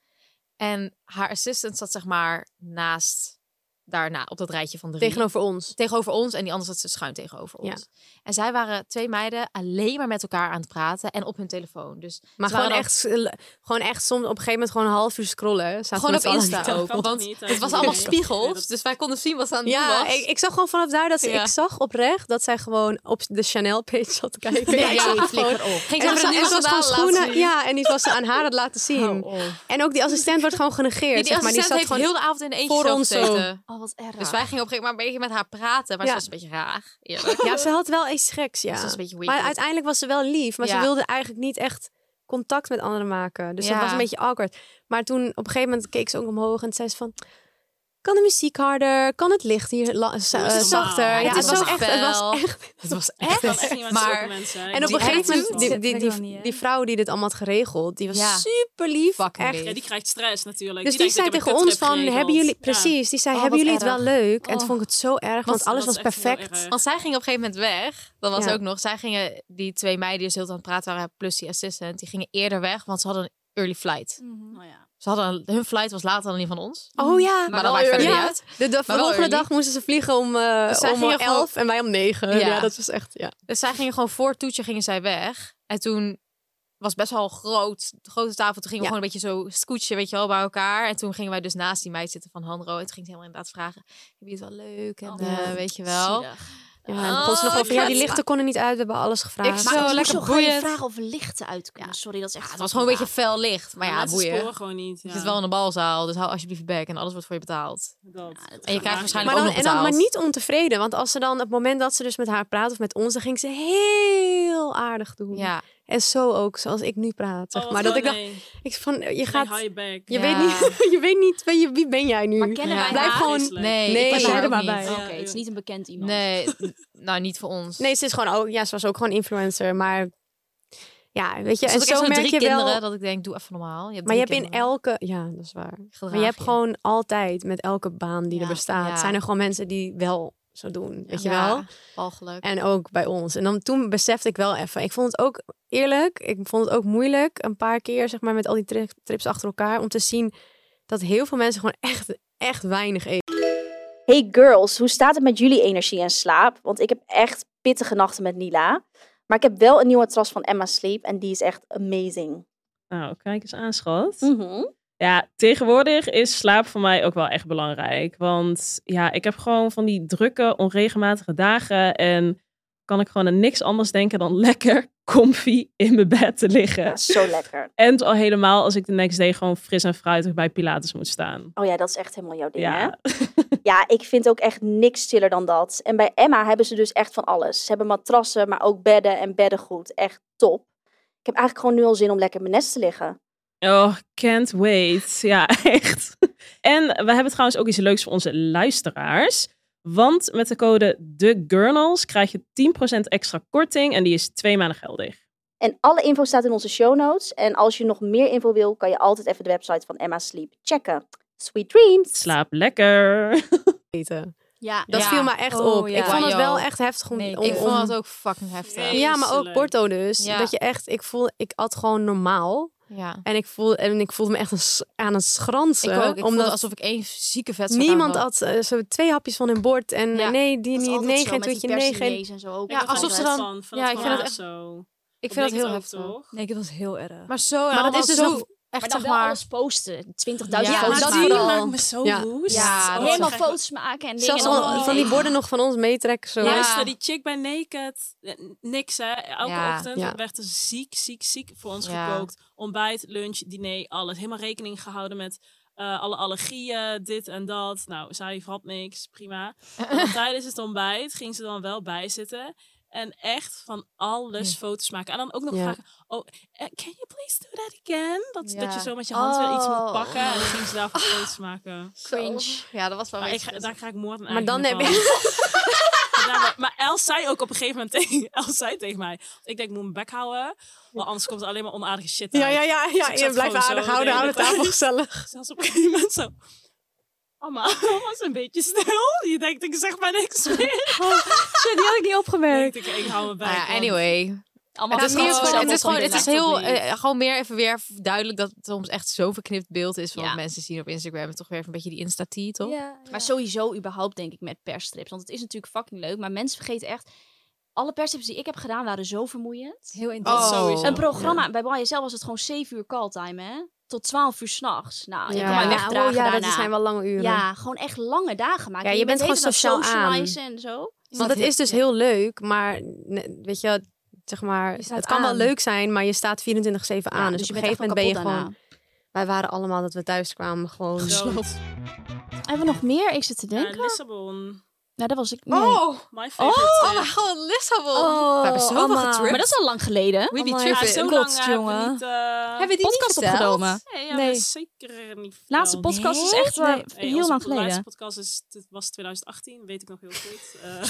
En haar assistant zat zeg maar naast, daarna op dat rijtje van drie. tegenover ons. tegenover ons en die anders zat ze schuin tegenover Ja. ons. En zij waren twee meiden alleen maar met elkaar aan het praten en op hun telefoon. Dus Maar ze gewoon waren echt, eh, gewoon echt soms op een gegeven moment gewoon een half uur scrollen. hè. Zaten dan we gewoon met op z'n allen Insta Dat ook. kan Want toch niet, hè? het was allemaal Nee. spiegels, Nee, dat- dus wij konden zien wat ze aan het doen Ja, was. ik, ik zag gewoon vanaf daar dat ze, Ja. ik zag oprecht dat zij gewoon op de Chanel page zat te kijken. Ja, ik ja, zag het flikker gewoon. op. Ging En ze ze maar zat- een en ze nieuwe was gewoon sandalen laten schoenen. zien. Ja, en die was ze aan haar dat laten zien. En ook die assistent wordt gewoon genegeerd. Die, die zeg maar. die assistent zat heeft gewoon heel de avond in een eentje voor zo ons zo. gezeten. Oh, wat erg. Dus wij gingen op een gegeven moment een beetje met haar praten, maar Ja. ze was een beetje raar. Eerlijk. Ja, ze had wel iets geks, ja. Ze was een beetje weird. maar uiteindelijk was ze wel lief, maar ze Ja. wilde eigenlijk niet echt contact met anderen maken. Dus dat Ja. was een beetje awkward. Maar toen op een gegeven moment keek ze ook omhoog en zei ze van... Kan de muziek harder? Kan het licht hier la- za- normaal. eh, zachter? Het Ja, is het was normaal. echt... Het was echt Ik Het was kan echt echt. niet met zulke Maar mensen. En op Die een gegeven moment, attitude. die, die, die, Weet ik wel niet, hè? die vrouw die dit allemaal had geregeld, die was Ja. super lief. Fucking echt. lief. Ja, die krijgt stress natuurlijk. Dus die denkt, zei ik heb tegen een ons kuttrip van, hebben geregeld. jullie... Ja. Oh, Precies, die zei, hebben jullie het wel leuk? En Oh. toen vond ik het zo erg, want dat alles was is echt heel perfect. Oh, erg. Want zij ging op een gegeven moment weg. Dat was Ja. ook nog. Zij gingen, die twee meiden die dus heel de tijd aan het praten waren, plus die assistant, die gingen eerder weg, want ze hadden een early flight. Mhm. Nou ja. Ze hadden een- hun flight was later dan die van ons. Oh ja. Maar dat maakt verder Ja, niet uit. De, de wel volgende early. dag moesten ze vliegen om, eh Dus zij om gingen gewoon- elf en wij om negen. Ja. Ja. dat was echt... Ja. Dus zij gingen gewoon voor het toetje gingen zij weg. En toen was best wel groot, grote tafel. Toen gingen Ja. we gewoon een beetje zo scootje, weet je wel, bij elkaar. En toen gingen wij dus naast die meid zitten van Hanro. En toen ging ze helemaal inderdaad vragen, heb je het wel leuk? En Ja. eh, weet je wel. Ja, en begon ze nog Oh, over, ja, die kut. lichten konden niet uit, we hebben alles gevraagd. zo maar lekker zo gewoon je boeiend. vragen of er lichten uitkomen. Sorry, dat is echt... Ja, het was gewoon een beetje fel licht. Maar ja, mensen boeien. sporen gewoon niet. Je Ja. zit wel in de balzaal, dus hou alsjeblieft je bek. En alles wordt voor je betaald. Dat. En je krijgt maar, waarschijnlijk dan, ook nog en dan, betaald. maar niet ontevreden, want als ze dan op het moment dat ze dus met haar praat of met ons, dan ging ze heel aardig doen. Ja, En zo ook, zoals ik nu praat. Zeg Oh, maar dat nee. ik dacht, ik van, je gaat, Nee, hou je bek. je, Ja. weet niet, je weet niet, wie, wie ben jij nu? Maar kennen Ja. wij Blijf haar? gewoon- Vreselijk. nee, Nee, ik was maar daar er ook maar niet. bij. Oké, Ja. het is niet een bekend iemand. Nee, n- nou niet voor ons. Nee, ze is gewoon ook, ja, ze was ook gewoon influencer, maar ja, weet je, en en zo merk drie je wel. kinderen dat ik denk, doe even normaal. Je hebt maar je drie hebt in kinderen. elke, ja, dat is waar. Gedraag Maar je hebt je. gewoon altijd met elke baan die er Ja, bestaat, ja. zijn er gewoon mensen die wel zo doen, weet je Ja, wel? walgelijk. En ook bij ons. En dan toen besefte ik wel even. Ik vond het ook eerlijk. Ik vond het ook moeilijk een paar keer, zeg maar, met al die tri- trips achter elkaar. Om te zien dat heel veel mensen gewoon echt, echt weinig eten. Hey girls, hoe staat het met jullie energie en slaap? Want ik heb echt pittige nachten met Nila. Maar ik heb wel een nieuwe matras van Emma Sleep en die is echt amazing. Nou, kijk eens aan, schat. Mm. Mhm. Ja, tegenwoordig is slaap voor mij ook wel echt belangrijk. Want ja, ik heb gewoon van die drukke, onregelmatige dagen. En kan ik gewoon aan niks anders denken dan lekker comfy in mijn bed te liggen. Ja, zo lekker. En al helemaal als ik de next day gewoon fris en fruitig bij Pilates moet staan. Oh ja, dat is echt helemaal jouw ding, hè? Ja, Ja, ik vind ook echt niks stiller dan dat. En bij Emma hebben ze dus echt van alles. Ze hebben matrassen, maar ook bedden en beddengoed. Echt top. Ik heb eigenlijk gewoon nu al zin om lekker in mijn nest te liggen. oh, can't wait. Ja, echt. En we hebben trouwens ook iets leuks voor onze luisteraars. Want met de code TheGurnals krijg je 10% extra korting en die is twee maanden geldig. En alle info staat in onze show notes. En als je nog meer info wil, kan je altijd even de website van Emma Sleep checken. Sweet dreams! Slaap lekker. Ja, dat Ja. viel me echt Oh, op. ja. Ik vond het Wow. wel echt heftig om. Nee, om- ik vond om- het ook fucking heftig. Ja, maar ook Vreselijk. Porto dus. Ja. Dat je echt, ik voel, ik at gewoon normaal. Ja. En ik voel, en ik voelde me echt een s- aan het schransen. Ik ook. Ik voelde omdat alsof ik één zieke vet Niemand had eh, zo twee hapjes van hun bord en eh, nee, die niet, nee, geen toetje, nee, geen. Ja, alsof ze dan. ja, ik vind dat echt zo. Ik vind dat heel heftig. Nee, dat was heel erg. Maar zo, Maar dat is dus zo nog- maar echt dan zeg wel maar. alles posten. 20.000 Ja, foto's maar maken. die maakt me zo Oh, ja. woest. Ja, Dat helemaal is echt- foto's maken en dingen. Zelfs en dan- al- van die borden nog van ons meetrekken. Zo. Luister, die chick bij Naked, eh, niks hè. Elke Ja. ochtend Ja. werd er ziek, ziek, ziek voor ons Ja. gekookt. Ontbijt, lunch, diner, alles. Helemaal rekening gehouden met eh, alle allergieën, dit en dat. Nou, zij had niks, prima. En dan tijdens het ontbijt ging ze dan wel bijzitten. En echt van alles foto's maken. En dan ook nog Ja. vragen, oh, eh, can you please do that again? Dat, dat je Ja. zo met je hand weer iets moet Oh. pakken. En dan ging ze daarvoor foto's maken. Cringe. Ja, dat was wel Maar een ik ga- daar ga ik moord aan Maar dan eigen heb van. Ja, maar- maar Els zei ook op een gegeven moment tegen, Els zei tegen mij, ik denk ik moet mijn bek houden, want anders komt er alleen maar onaardige shit uit. Ja, ja, ja, ja. ik je zat blijft gewoon zo aardig de houden, hele houden tafel tijd. gezellig. Zelfs op een gegeven moment zo. Amma, was een beetje stil. Je denkt, ik zeg maar niks meer. shit, die had ik niet opgemerkt. Ik, ik hou me bij. Nou ja, anyway. Allemaal het is, foto's meer, van het is gewoon, het is heel, laptop niet. eh, gewoon meer even weer duidelijk dat het soms echt zo'n verknipt beeld is van wat mensen zien op Instagram. En toch weer even een beetje die insta-tee, toch? Maar sowieso überhaupt denk ik met persstrips. Want het is natuurlijk fucking leuk. Maar mensen vergeten echt... Alle persstrips die ik heb gedaan waren zo vermoeiend. Heel intens. Oh, sowieso. Een programma. Bij By Jezelf was het gewoon 7 uur calltime, hè? Tot 12 uur s'nachts. Nou, ik Ja. kan mij Ja. wegdragen Oh ja, dat daarna. zijn wel lange uren. Ja, gewoon echt lange dagen maken. Ja, En je bent de gewoon hele dag sociaal aan. socializen en zo. Want het is dus heel leuk, maar ne- weet je, zeg maar, staat het kan aan. wel leuk zijn, maar je staat 24-7 aan. dus dus, op je een bent echt gegeven moment wel ben je kapot daarna. gewoon. Wij waren allemaal dat we thuis kwamen gewoon gesloopt. Hebben we nog meer? Ik zit te denken. Ja, Lissabon. Nou, dat was ik. Oh, my favorite Oh, trip. my god, Lissabon. Oh, we hebben zoveel Amma. getript. Maar dat is al lang geleden. We be Amma, tripping. ja, zo God, lang hebben we jongen. niet, eh, Hebben die niet podcast verteld? opgenomen? Nee, ja, Nee. dat is zeker niet Laatste verteld. podcast is echt, eh, heel onze lang geleden. laatste podcast is, dit was 2018, weet ik nog heel goed. Eh,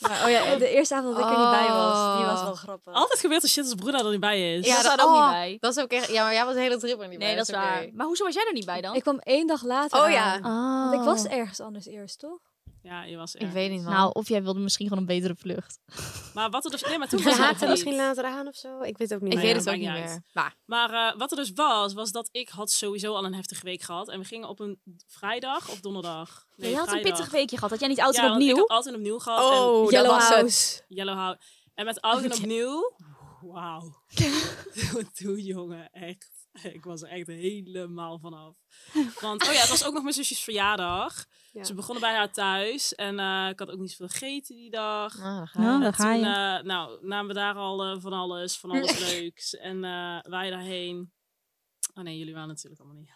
Maar, oh ja, de eerste avond dat ik er niet bij was, die was wel grappig. Altijd gebeurt er shit als Bruna er niet bij is. Ja, dat- ook niet oh, bij. Dat is ook echt, ja, maar jij was de hele trip er niet bij. Nee, dat is oké. waar. Maar hoezo was jij er niet bij dan? Ik kwam één dag later Oh ja. Oh. aan. Want ik was ergens anders eerst, toch? Ja, je was Ik er. weet niet, man. Nou, of jij wilde misschien gewoon een betere vlucht. Maar wat er dus... Nee, maar toen Je was het haakt nog er niet. misschien later aan of zo. Ik weet het ook Nou niet. Ik meer. weet het ook niet meer. Maar Maar eh, wat er dus was, was dat ik had sowieso al een heftige week gehad. En we gingen op een vrijdag of donderdag. Ja, je had een vrijdag. pittig weekje gehad. Had jij niet oud en Ja, want opnieuw? ik had oud en opnieuw gehad. Oh, en dat Yellow was het. House. Yellow House. En met oud en opnieuw... Wauw. Toen, jongen, echt. Ik was er echt helemaal vanaf. Want, oh ja, het was ook nog mijn zusjes verjaardag. Ja. Ze begonnen bij haar thuis. En eh, ik had ook niet zoveel gegeten die dag. Ah. ga je. Nou, dan En ga je. toen, eh, nou, namen we daar al eh, van alles, van alles leuks. En eh, wij daarheen. Oh nee, jullie waren natuurlijk allemaal niet.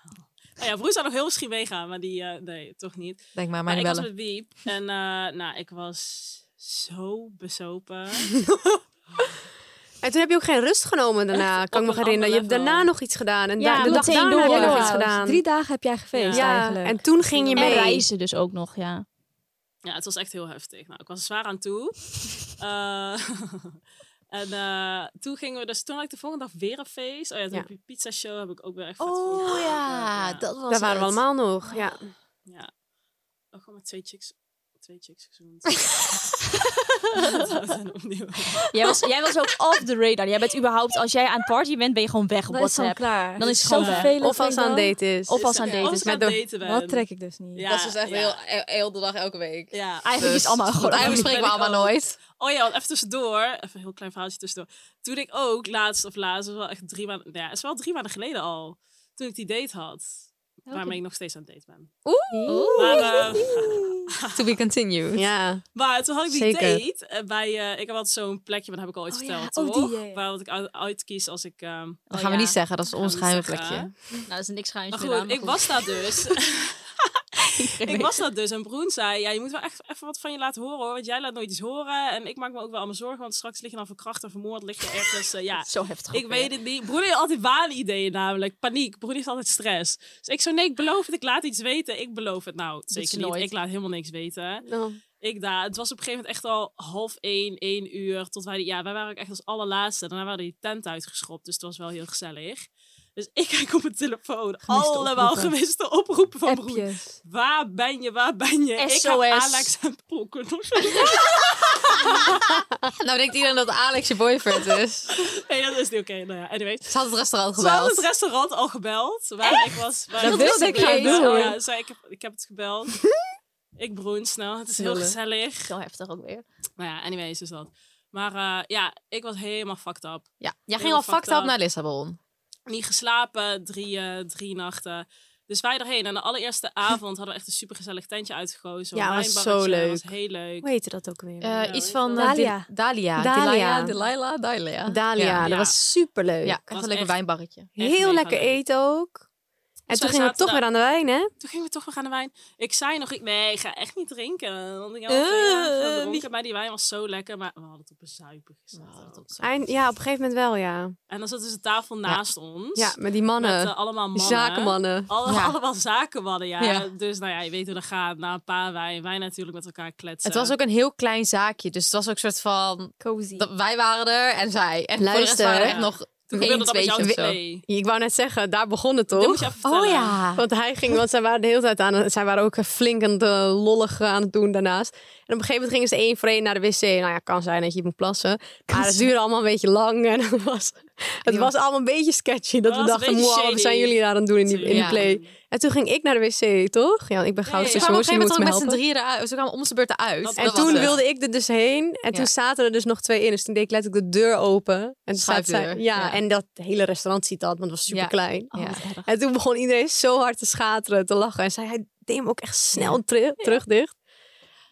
Nou ja, Broes zou nog heel misschien meegaan, maar die, eh, nee, toch niet. Denk maar, maar maar niet ik was bellen. met Wiep. En eh, nou, ik was zo bezopen. En toen heb je ook geen rust genomen daarna, kan ik me herinneren. Je hebt daarna nog iets gedaan. En Ja, da- de dag meteen daarna door. heb je nog Yellow iets House. gedaan. Drie dagen heb jij gefeest Ja, eigenlijk. en toen ging je En mee. reizen dus ook nog, ja. Ja, het was echt heel heftig. Nou, ik was er zwaar aan toe. Eh, en eh, toen gingen we dus, toen had ik de volgende dag weer een feest. Oh ja, toen Ja. heb ik pizza show, heb ik ook weer echt vet Oh vergeten. ja, dat was Daar waren we het. allemaal nog. Ja. Ja. Ook gewoon met twee chicks. Twee chicks gezoend. Dat zijn opnieuw. Jij was, jij was ook off the radar. Jij bent überhaupt, als jij aan het party bent, ben je gewoon weg op Dan is het WhatsApp. gewoon klaar. Dan Het is is het zo gewoon weg. vervelend Of als vind ik aan dan. date is. Of als aan date Als is. ik aan het daten ben. Wat trek ik dus niet. Ja, dat is dus echt ja. heel, heel, heel de dag, elke week. Ja, Eigenlijk dus- is het allemaal want gewoon- Eigenlijk spreken we Ben ik allemaal ook. nooit. Oh ja, want even tussendoor. Even een heel klein verhaaltje tussendoor. Toen ik ook laatst of laatst, dat was wel echt drie maanden. nou Ja, het is wel drie maanden geleden al. Toen ik die date had. Waarmee ik nog steeds aan het date ben. Oeh. Maar, eh, To be continued. Ja. Maar toen had ik die Zeker. date eh, bij, eh, ik heb altijd zo'n plekje, maar dat heb ik al ooit Oh ja, verteld, oh, toch? die, ja, ja. Waar wat ik uit- uitkies als ik... ehm, Dat gaan we niet zeggen, dat is ons geheime plekje. Nou, dat is niks Maar geheim. goed, ik was daar dus. ik was dat dus. En Broen zei, ja, je moet wel echt even wat van je laten horen hoor. Want jij laat nooit iets horen. En ik maak me ook wel allemaal zorgen. Want straks lig je dan verkracht en vermoord. Lig je ergens, eh, ja. Zo heftig Ik ook weet weer. het niet. Broen heeft altijd waanideeën namelijk. Paniek. Broen heeft altijd stress. Dus ik zo, nee, ik beloof het. Ik laat iets weten. Ik beloof het. Nou, is zeker niet. nooit. Ik laat helemaal niks weten. Ik daar. Het was op een gegeven moment echt al half één, één uur. Tot wij, die- ja, wij waren ook echt als allerlaatste. Daarna waren die tent uitgeschopt. Dus het was wel heel gezellig. Dus ik kijk op mijn telefoon. allemaal oproepen. gemiste oproepen van broer. Waar ben je? Waar ben je? Ik SOS. heb Alex en Pokken. nou denkt iedereen dat Alex je boyfriend is. Nee, dat is niet oké. Nou ja, anyways. Ze had het restaurant Ze hadden gebeld. het restaurant al gebeld. Waar ik was. Waar Dat ik wilde was ik gaan gebleven. doen. Ja, zei, ik, heb, ik heb het gebeld. ik broen snel. Het is heel Lullen. gezellig. Heel heftig ook weer. Nou ja, anyways is dat. Maar eh, ja, ik was helemaal fucked up. Ja, jij ging Helemaal al fucked up naar Lissabon. Niet geslapen, drie, eh, drie nachten. Dus wij erheen. En de allereerste avond hadden we echt een supergezellig tentje uitgekozen. Ja, Een was zo wijnbarretje. leuk. was heel leuk. Hoe heette dat ook weer? Eh, iets van eh, Dalia. Di- Dalia. Dalia. Dalia. Delilah. Dalia. Dalia, dat was superleuk. Eh, Ja, echt een lekker wijnbarretje. Heel lekker eten ook. En Dus wij toen gingen we zaten toch daar- weer aan de wijn, hè? Toen gingen we toch weer aan de wijn. Ik zei nog, ik, nee, ik ga echt niet drinken. Want ik had Eh, al heel veel gedronken, wie- maar die wijn was zo lekker. Maar we hadden het op een zuipen gezet. ook. Eind- ja, op een gegeven moment wel, ja. En dan zat dus de tafel naast ons. Ja, met die mannen. Met, eh, allemaal Die mannen. zakenmannen. Alle- Ja. Allemaal zakenmannen, ja. Ja. Dus nou ja, je weet hoe dat gaat. Na een paar wijn, wij natuurlijk met elkaar kletsen. Het was ook een heel klein zaakje, dus het was ook een soort van... Cozy. Dat wij waren er en zij. En voor de rest Luister. waren er echt nog één, tweetje of zo. Ik wou net zeggen, daar begon het toch? moet je even vertellen. Oh ja. Want hij ging, want zij waren de hele tijd aan het, zij waren ook flink aan het eh, lollig aan het doen daarnaast. En op een gegeven moment gingen ze één voor één naar de wc. Nou ja, kan zijn dat je moet plassen. Maar het zijn. duurde allemaal een beetje lang en het was, het was allemaal een beetje sketchy. Dat Dat was we een dachten, beetje wow, wat shady." zijn jullie daar aan het doen in die, in die Ja. play? En toen ging ik naar de wc, toch? Ja, want ik ben gauw Ze dus kwamen op een gegeven jongens, jullie moment moeten ook me met z'n helpen. drieën eruit. Ze kwamen om de beurt eruit. En Dat was toen het. wilde ik er dus heen. En toen Ja. zaten er dus nog twee in. Dus toen deed ik letterlijk de deur open. En toen zaten zij, ja, Schuifdeur, ja. en dat hele restaurant ziet dat, want het was super klein. Ja. Oh, wat erg. En toen begon iedereen zo hard te schateren, te lachen. En zij hij deed hem ook echt snel teru- terug dicht.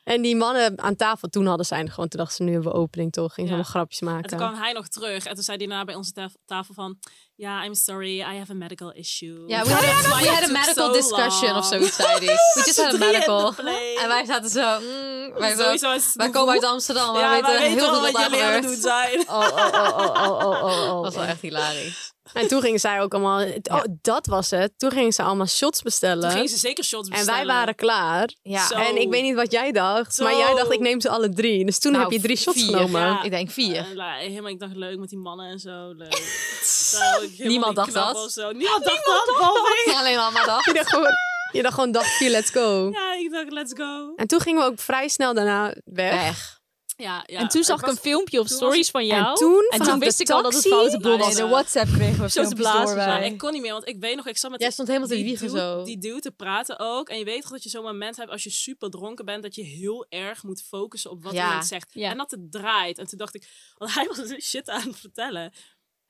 En die mannen aan tafel, toen hadden zij gewoon, toen dachten ze, nu hebben we opening toch. Gingen ze allemaal grapjes En toen kwam maken. hij nog terug. En toen zei hij daarna bij onze taf- tafel van... Ja, I'm sorry, I have a medical issue. Ja, we had That's a, why we it had a took medical so discussion long. of zoiets, zei hij. We just had a Z'n drieën in de medical. play. En wij zaten zo... mm, wij, zo- Sowieso is het wij een komen uit woe. Amsterdam. Ja, wij wij weten weten heel wel veel wat daar jullie aan het gebeurt. doen zijn. Oh, oh, oh, oh, oh, oh, oh, oh. Dat was wel echt hilarisch. En toen gingen zij ook allemaal, oh, dat was het. Toen gingen ze allemaal shots bestellen. Toen gingen ze zeker shots bestellen. En wij waren klaar. Ja. Zo. En ik weet niet wat jij dacht, maar Zo. jij dacht ik neem ze alle drie. Dus toen Nou, heb je drie shots vier. genomen. Ja. Ik denk vier. En, la- helemaal, ik dacht leuk met die mannen en zo. Leuk. Zo, ik helemaal Niemand niet dacht knap dat. of zo. Niemand dacht dat. behalve ik. Alleen mama dacht. Je dacht gewoon, je dacht gewoon dag vier, let's go. Ja, ik dacht let's go. En toen gingen we ook vrij snel daarna weg. Ja, ja. en toen zag ik een filmpje op stories van jou. En toen en vanaf toen de wist ik al dat het taxi- foute boel Nee, was. de WhatsApp kregen Zo te blazen. Maar zijn. ik kon niet meer, want ik weet nog, ik zat met Jij die- stond helemaal te die wiegen dude- zo. Die dude te praten ook. En je weet toch dat je zo'n moment hebt als je super dronken bent, dat je heel erg moet focussen op wat Ja. iemand zegt. Ja. En dat het draait. En toen dacht ik, want hij was dus shit aan het vertellen.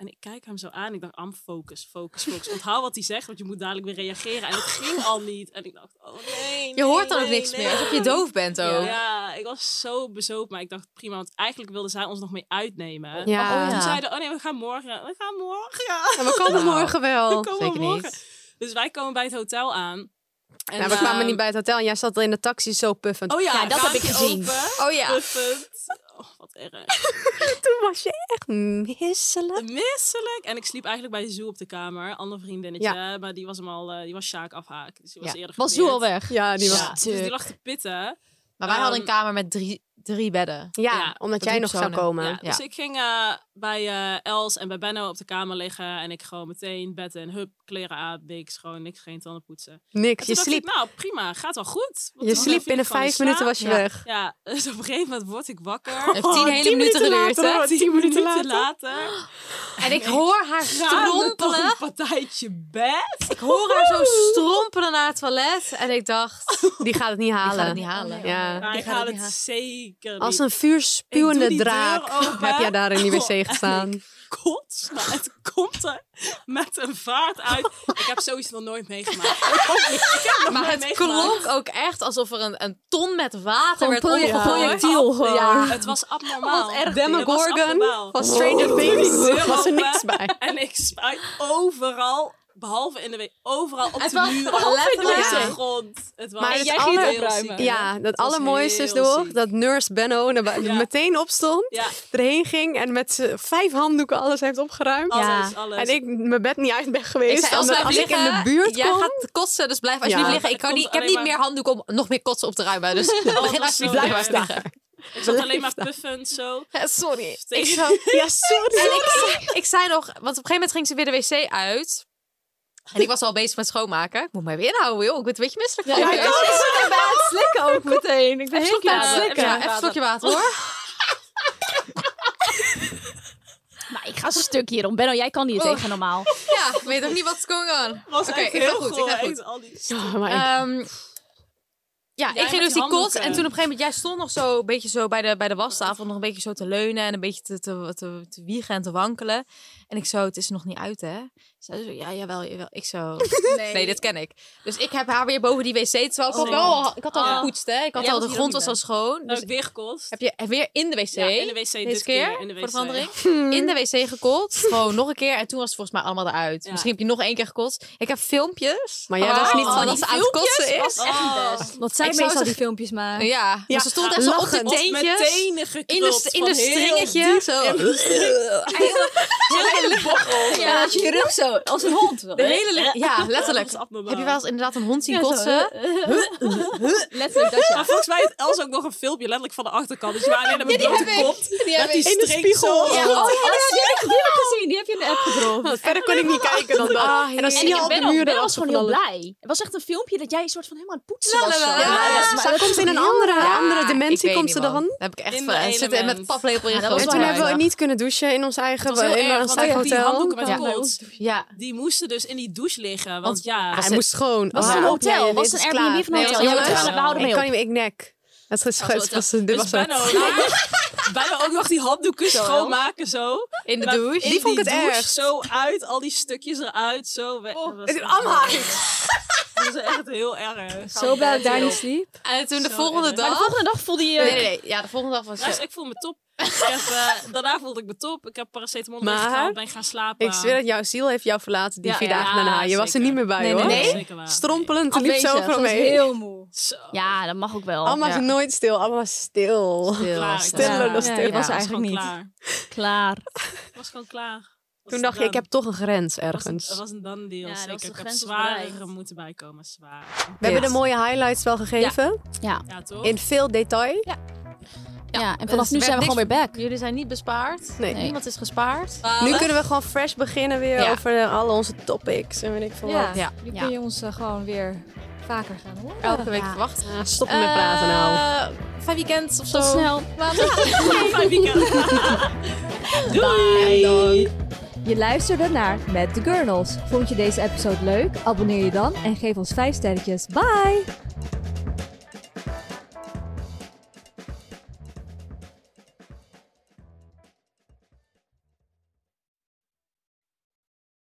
En ik kijk hem zo aan. Ik dacht, am focus, focus, focus. Onthoud wat hij zegt, want je moet dadelijk weer reageren. En het ging al niet. En ik dacht, oh nee. Je hoort dan nee, ook niks nee, meer, alsof je nee. doof bent ook. Ja, ik was zo bezoopt, maar ik dacht prima, want eigenlijk wilden zij ons nog mee uitnemen. Ja. Toen Oh, ja. zeiden, oh nee, we gaan morgen. We gaan morgen. Ja, we komen morgen wel. Oh, We komen Zeker morgen. niet. Dus wij komen bij het hotel aan. En, nou, we kwamen ehm, niet bij het hotel en jij zat al in de taxi zo puffend. Oh ja, raampje Open, Oh ja. Puffend. Oh, wat erg. Toen was je echt misselijk. Misselijk. En ik sliep eigenlijk bij Zoe op de kamer. Ander vriendinnetje. Maar die was hem al, eh, die was Sjaak afhaak. Dus die was Ja. eerder Was gepit. Zoe al weg? Ja, die was- dus die Stuk. lag te pitten. Maar wij hadden een Ehm, kamer met drie, drie bedden. Ja, omdat Met jij drie nog zou personen. komen. Ja, Dus ik ging eh, bij eh, Els en bij Benno op de kamer liggen. En ik gewoon meteen bed in. Hup, kleren aan, big, schoon, niks, geen tanden poetsen. Niks, En je toen dacht ik, sliep. nou, prima, gaat wel goed. Je sliep viel ik binnen van de vijf slaap. minuten was je Ja. weg. Ja, dus op een gegeven moment word ik wakker. Oh, Heeft tien hele minuten geduurd, later, hè? hoor, Tien minuten later. En ik hoor haar Gaande toch strompelen. een partijtje bed. Ik hoor haar zo strompelen naar het toilet. En ik dacht, die gaat het niet halen. gaat het niet halen. Ja. Maar Nou, ik haal het zeker Als niet. een vuurspuwende Ik doe die draak deur open. heb jij daar in die Oh, wc gestaan. kots. Maar het komt er met een vaart uit. Ik heb zoiets nog nooit meegemaakt. Ik ook niet. Ik heb nog Maar nooit het meegemaakt. klonk ook echt alsof er een, een ton met water Gewoon werd proje- omgegooid. projectiel gewoon. Ja, Het was abnormaal. Wat erg. Het was Demogorgon Oh. abnormaal. van Stranger Things. Deur was er open niks bij. En ik spuit overal Behalve in de week overal op Het de was muren, behalve in de letterlijk op de wc. grond. Het was het heel aller- ziek. Ja, Het dat was allermooiste is heel door ziek. dat nurse Benno naar bu- meteen opstond, Ja. erheen ging en met z'n vijf handdoeken alles heeft opgeruimd. Alles, Ja. alles. En ik mijn bed niet uit ben Ik geweest. zei, als omdat wij als ik in liggen, de buurt jij kom... gaat kotsen, dus blijf alsjeblieft Ja. liggen. Ik, kan Het niet, ik komt heb niet alleen meer handdoek om nog meer kotsen op te ruimen. Dus dat begin was alsjeblieft zo blijf erg. liggen. Ik zat alleen maar puffend zo. sorry. Ik ja, sorry. En ik, zei- ik zei nog, want op een gegeven moment ging ze weer de wc uit. En ik was al bezig met schoonmaken. Ik moet mij weer inhouden, joh. Ik ben een beetje misselijk Ja, van ik deze. ook. Ik ben aan het slikken ook meteen. Ik ben Even heel slokje aan eh, water. het slikken. Ja, even slokje water, hoor. Maar ik ga stuk hierom. Benno, jij kan hier Oh. tegen normaal. Ja, ik weet ook niet wat going on. Was Oké, echt ik ga heel goed, ik ga goor, goed. echt al die Ja, Ehm, ja, Jij ik met ging dus die die kot. handdoeken. En toen op een gegeven moment, jij stond nog zo een beetje zo bij de, bij de wastafel. Nog een beetje zo te leunen en een beetje te, te, te, te wiegen en te wankelen. En ik zo, het is er nog niet uit, hè? Zij zo, ja, jawel, jawel. Ik zo, nee. dit ken ik. Dus ik heb haar weer boven die wc. Terwijl ik, Oh. ook wel, ik had al Oh. gepoetst, hè? Ik had Jij was al, de hier grond ook was niet al bij. schoon. Dus Dus ik weer gekost. heb je weer in de wc. Ja, in de wc dit Deze keer, keer, in de voor wc. Oh. Hmm. de verandering. In de wc gekold. Gewoon nog een keer. En toen was het volgens mij allemaal eruit. Ja. Misschien heb je nog één keer gekotst. Ik heb filmpjes. Maar jij was niet van dat die ze aan het filmpjes? kotsen is. Was echt niet best. Wat zij Ik zou meestal ze- die filmpjes maken. Ja, Ja, maar ze stond echt zo op de lachend. teentjes. Met tenen in de, geknot in de van heel stringetje. diep Zo. en hele bochel. Ja, als je je rug zo, als een hond. De hele li- ja, letterlijk. Heb je wel eens inderdaad een hond zien kotsen? Letterlijk dat, ja. Maar volgens mij heeft Els ook nog een filmpje letterlijk van de achterkant. Dus je waren alleen maar Ja, die blote heb ik. kont. Die heb met die ik. In de string spiegel. zo. Ja, oh, ja, die heb ik- die heb ik gezien. Die heb je in de app gedropt. Verder kon ik niet kijken dan dat. Ah, en dan heerlijk. zie je al op de Benno, muren Benno dat was ze gewoon van heel alles- blij. Het was echt een filmpje dat jij een soort van helemaal aan het poetsen was. Ja, zo. ja, maar ze dat komt is in een heel andere, raar. andere dimensie. weet komt niet, ze dan? man. Daar heb ik echt van. En ze zitten met paplepel in Ja, gewoon. en toen hebben we niet kunnen douchen in ons eigen, Dat was heel in erg, ons want ik eigen heb die hotel. handdoeken met kots. Ja. Die moesten dus in die douche liggen. Want, Want- ja... hij moest schoon. Was Ah. het een hotel? Nee, dit Was het is een Airbnb klaar. of een hotel? Nee, Jongens, hotel. we houden mee Ik kan op. niet meer, ik nek. Het is het was, dit Dus was het. Benno, Benno ook nog die handdoeken schoonmaken zo. In de En dan douche. in Die vond ik die het douche erg. Zo uit, al die stukjes eruit. Zo Oh, weg. Dat was het is echt- allemaal Dat was echt heel erg. Zo blij dat ik daar niet sliep. En toen de Zo volgende erg. dag... Maar de volgende dag voelde Nee, nee, nee. Ja, de volgende dag was... Luister, ik voel me top. Ik heb, eh, daarna voelde ik me top. Ik heb paracetamol Maar- gehaald, ben gaan slapen. Ik zweer dat jouw ziel heeft jou verlaten die Ja, vier ja, dagen daarna. Je was er zeker. niet meer bij Nee, nee, hoor. nee. Zeker waar. Strompelend, liep zo Afwezig, overal ze was mee. heel moe. Zo. Ja, dat mag ook wel. Alma Ja. was nooit stil, Alma was stil. Klaar, ik Stiller klaar. dan stil. Ja, ik was was eigenlijk eigenlijk niet. klaar. Klaar. Ik was gewoon klaar. Was het Toen dacht je, done. ik heb toch een grens Was, het- ergens. was een done deal, dus Ja, dat was zeker. de Ik heb grens was zwaardere bereikt. moeten bijkomen, zwaar. We hebben de mooie highlights wel gegeven. Ja. Ja, toch? In veel detail. Ja, en Dus vanaf nu er zijn we werd gewoon weer niks- back. Jullie zijn niet bespaard. Nee. Niemand is gespaard. Nu kunnen we gewoon fresh beginnen weer Ja. over eh, alle onze topics en weet ik veel Ja, Oh. wat. Ja. nu Ja. kun je ons eh, gewoon weer vaker gaan horen. Elke week verwachten. Ah, Stop met praten nou. Eh, Vijf weekends of zo. Tot snel. Fijn weekend. Doei! Je luisterde naar Met de Gurnals. Vond je deze episode leuk? Abonneer je dan en geef ons 5 sterretjes. Bye!